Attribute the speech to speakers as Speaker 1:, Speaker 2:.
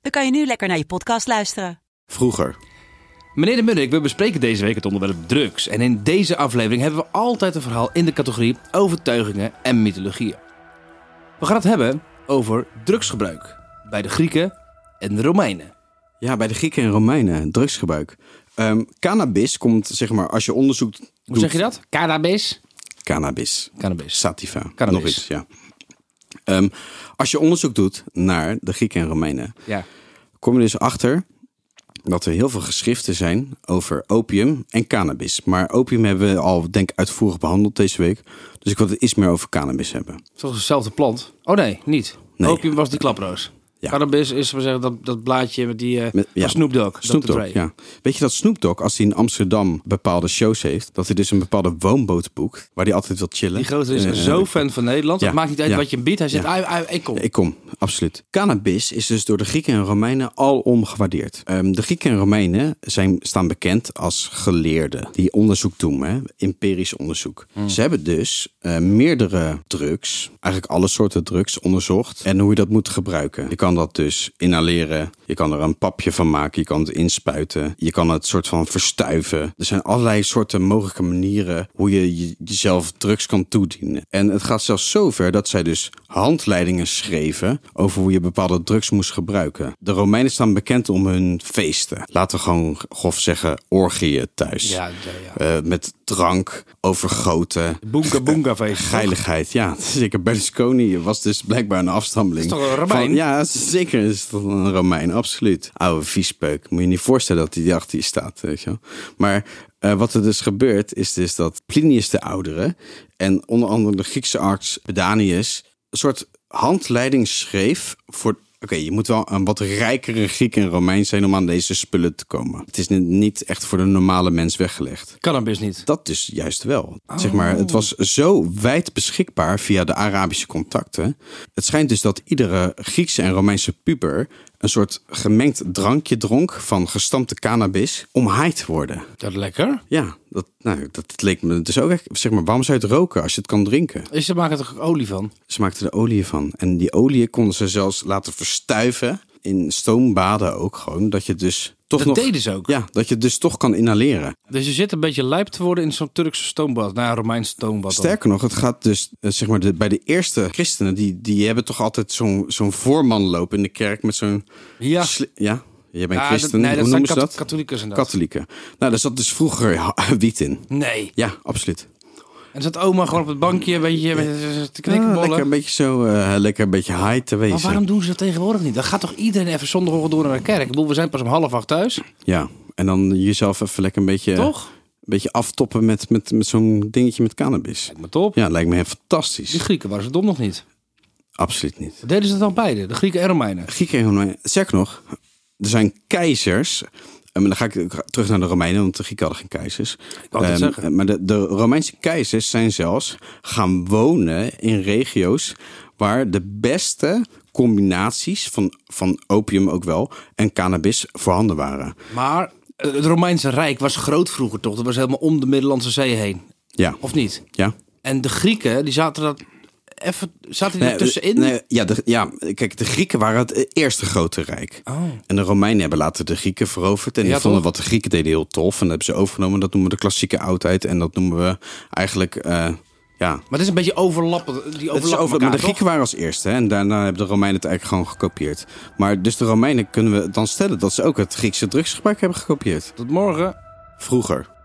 Speaker 1: dan kan je nu lekker naar je podcast luisteren.
Speaker 2: Vroeger.
Speaker 3: Meneer de Munnik, we bespreken deze week het onderwerp drugs. En in deze aflevering hebben we altijd een verhaal in de categorie overtuigingen en mythologieën. We gaan het hebben over drugsgebruik bij de Grieken en de Romeinen.
Speaker 2: Ja, bij de Grieken en Romeinen, drugsgebruik. Ehm, cannabis komt, zeg maar, als je onderzoekt...
Speaker 3: Hoe zeg je dat? Cannabis?
Speaker 2: Cannabis.
Speaker 3: Cannabis.
Speaker 2: Sativa.
Speaker 3: Cannabis.
Speaker 2: Nog eens, ja. Ehm, als je onderzoek doet naar de Grieken en Romeinen,
Speaker 3: Ja.
Speaker 2: kom je dus achter dat er heel veel geschriften zijn over opium en cannabis. Maar opium hebben we al, denk ik, uitvoerig behandeld deze week. Dus ik wil het iets meer over cannabis hebben.
Speaker 3: Het is toch dezelfde plant? Oh nee, niet.
Speaker 2: Nee.
Speaker 3: Opium was die klaproos.
Speaker 2: Ja.
Speaker 3: Cannabis is, we zeggen, dat, dat blaadje met die eh
Speaker 2: Met- ja.
Speaker 3: van Snoop Dogg.
Speaker 2: Snoop
Speaker 3: Dr.
Speaker 2: Dogg,
Speaker 3: Dre.
Speaker 2: ja. Weet je dat Snoop Dogg, als hij in Amsterdam bepaalde shows heeft, dat hij dus een bepaalde woonboot boekt, waar hij altijd wil chillen?
Speaker 3: Die grote is
Speaker 2: En, eh,
Speaker 3: zo fan van Nederland.
Speaker 2: ja.
Speaker 3: Het maakt niet uit
Speaker 2: Ja.
Speaker 3: wat je hem biedt. Hij zegt,
Speaker 2: Ja.
Speaker 3: "Ai, ai, ik kom.
Speaker 2: eh, Ik kom, absoluut. Cannabis is dus door de Grieken en Romeinen alom gewaardeerd. Ehm, de Grieken en Romeinen zijn, staan bekend als geleerden die onderzoek doen, hè? empirisch onderzoek.
Speaker 3: Hmm.
Speaker 2: Ze hebben dus eh, meerdere drugs, eigenlijk alle soorten drugs, onderzocht en hoe je dat moet gebruiken. Je kan dat dus inhaleren, je kan er een papje van maken, je kan het inspuiten, je kan het soort van verstuiven. Er zijn allerlei soorten mogelijke manieren hoe je je- jezelf drugs kan toedienen. En het gaat zelfs zover dat zij dus handleidingen schreven over hoe je bepaalde drugs moest gebruiken. De Romeinen staan bekend om hun feesten. Laten we gewoon grof zeggen orgieën thuis.
Speaker 3: Ja, ja, ja.
Speaker 2: Eh, met drank, overgoten,
Speaker 3: Boonga boonga feest.
Speaker 2: geiligheid. Ja, zeker Berlusconi was dus blijkbaar een afstammeling.
Speaker 3: Is toch een Romein?
Speaker 2: Van- ja, zeker is het een Romein, absoluut. Oude viespeuk. Moet je niet voorstellen dat hij achter je staat. Weet je wel. Maar eh, wat er dus gebeurt, is dus dat Plinius de Oudere... en onder andere de Griekse arts Bedanius... een soort handleiding schreef voor... Oké, je moet wel een wat rijkere Griek en Romein zijn om aan deze spullen te komen. Het is ni- niet echt voor de normale mens weggelegd.
Speaker 3: Cannabis niet.
Speaker 2: Dat dus juist wel. Zeg maar, het was zo wijd beschikbaar via de Arabische contacten. Het schijnt dus dat iedere Griekse en Romeinse puber een soort gemengd drankje dronk van gestampte cannabis om high te worden.
Speaker 3: Dat lekker.
Speaker 2: Ja, dat, nou, dat leek me dus ook echt. Zeg maar, waarom zou je het roken als je het kan drinken?
Speaker 3: Is Ze maken er toch ook olie van?
Speaker 2: Ze maakten er olie van. En die olie konden ze zelfs laten verstuiven. In stoombaden ook gewoon. Dat je dus toch
Speaker 3: Dat
Speaker 2: nog.
Speaker 3: deden ze ook.
Speaker 2: Ja, dat je het dus toch kan inhaleren.
Speaker 3: Dus je zit een beetje lijp te worden in zo'n Turkse stoombad. Nou, ja, Romeins stoombad. dan.
Speaker 2: Sterker nog, het gaat dus eh, zeg maar de, bij de eerste christenen, die, die hebben toch altijd zo'n zo'n voorman lopen in de kerk met zo'n.
Speaker 3: Ja.
Speaker 2: sli- ja? Jij bent
Speaker 3: Ja,
Speaker 2: christen.
Speaker 3: dat- nee, dat
Speaker 2: Hoe
Speaker 3: zijn
Speaker 2: noemen ze
Speaker 3: kat-
Speaker 2: dat?
Speaker 3: katholieken zijn dat.
Speaker 2: Katholieken. Nou, daar zat dus vroeger ja, wiet in.
Speaker 3: Nee.
Speaker 2: Ja, absoluut.
Speaker 3: En zat oma gewoon op het bankje een beetje met te
Speaker 2: Ah,
Speaker 3: knikkenbollen.
Speaker 2: lekker een beetje zo, eh, lekker een beetje high te wezen.
Speaker 3: maar waarom doen ze dat tegenwoordig niet? Dan gaat toch iedereen even zondagochtend door naar de kerk? Ik bedoel, we zijn pas om half acht thuis.
Speaker 2: Ja, en dan jezelf even lekker een beetje,
Speaker 3: Toch?
Speaker 2: Een beetje aftoppen met, met, met zo'n dingetje met cannabis.
Speaker 3: Lijkt me top.
Speaker 2: Ja, lijkt me heel
Speaker 3: Die
Speaker 2: fantastisch.
Speaker 3: Grieken waren ze dom nog niet.
Speaker 2: Absoluut niet.
Speaker 3: Deden ze dat dan beide? De Grieken en Romeinen?
Speaker 2: Grieken en Romeinen. Sterker nog, er zijn keizers. En dan ga ik terug naar de Romeinen, want de Grieken hadden geen keizers.
Speaker 3: wou net
Speaker 2: Ehm,
Speaker 3: zeggen.
Speaker 2: Maar de, de Romeinse keizers zijn zelfs gaan wonen in regio's waar de beste combinaties van, van opium ook wel en cannabis voorhanden waren.
Speaker 3: Maar eh, het Romeinse Rijk was groot vroeger toch? Dat was helemaal om de Middellandse Zee heen.
Speaker 2: Ja.
Speaker 3: Of niet?
Speaker 2: Ja.
Speaker 3: En de Grieken, die zaten dat even, zaten die
Speaker 2: Nee,
Speaker 3: er tussenin?
Speaker 2: nee, ja, de, ja, kijk, de Grieken waren het eh, eerste grote rijk. En de Romeinen hebben later de Grieken veroverd. En die
Speaker 3: Oh. Ja,
Speaker 2: vonden
Speaker 3: toch?
Speaker 2: wat de Grieken deden heel tof. En dat hebben ze overgenomen. Dat noemen we de klassieke oudheid. En dat noemen we eigenlijk, eh, ja...
Speaker 3: Maar het is een beetje overlappen. Die
Speaker 2: Het is
Speaker 3: overlappen
Speaker 2: over,
Speaker 3: elkaar,
Speaker 2: maar de
Speaker 3: toch?
Speaker 2: Grieken waren als eerste. Hè, en daarna hebben de Romeinen het eigenlijk gewoon gekopieerd. Maar dus de Romeinen kunnen we dan stellen dat ze ook het Griekse drugsgebruik hebben gekopieerd.
Speaker 3: Tot morgen.
Speaker 2: Vroeger.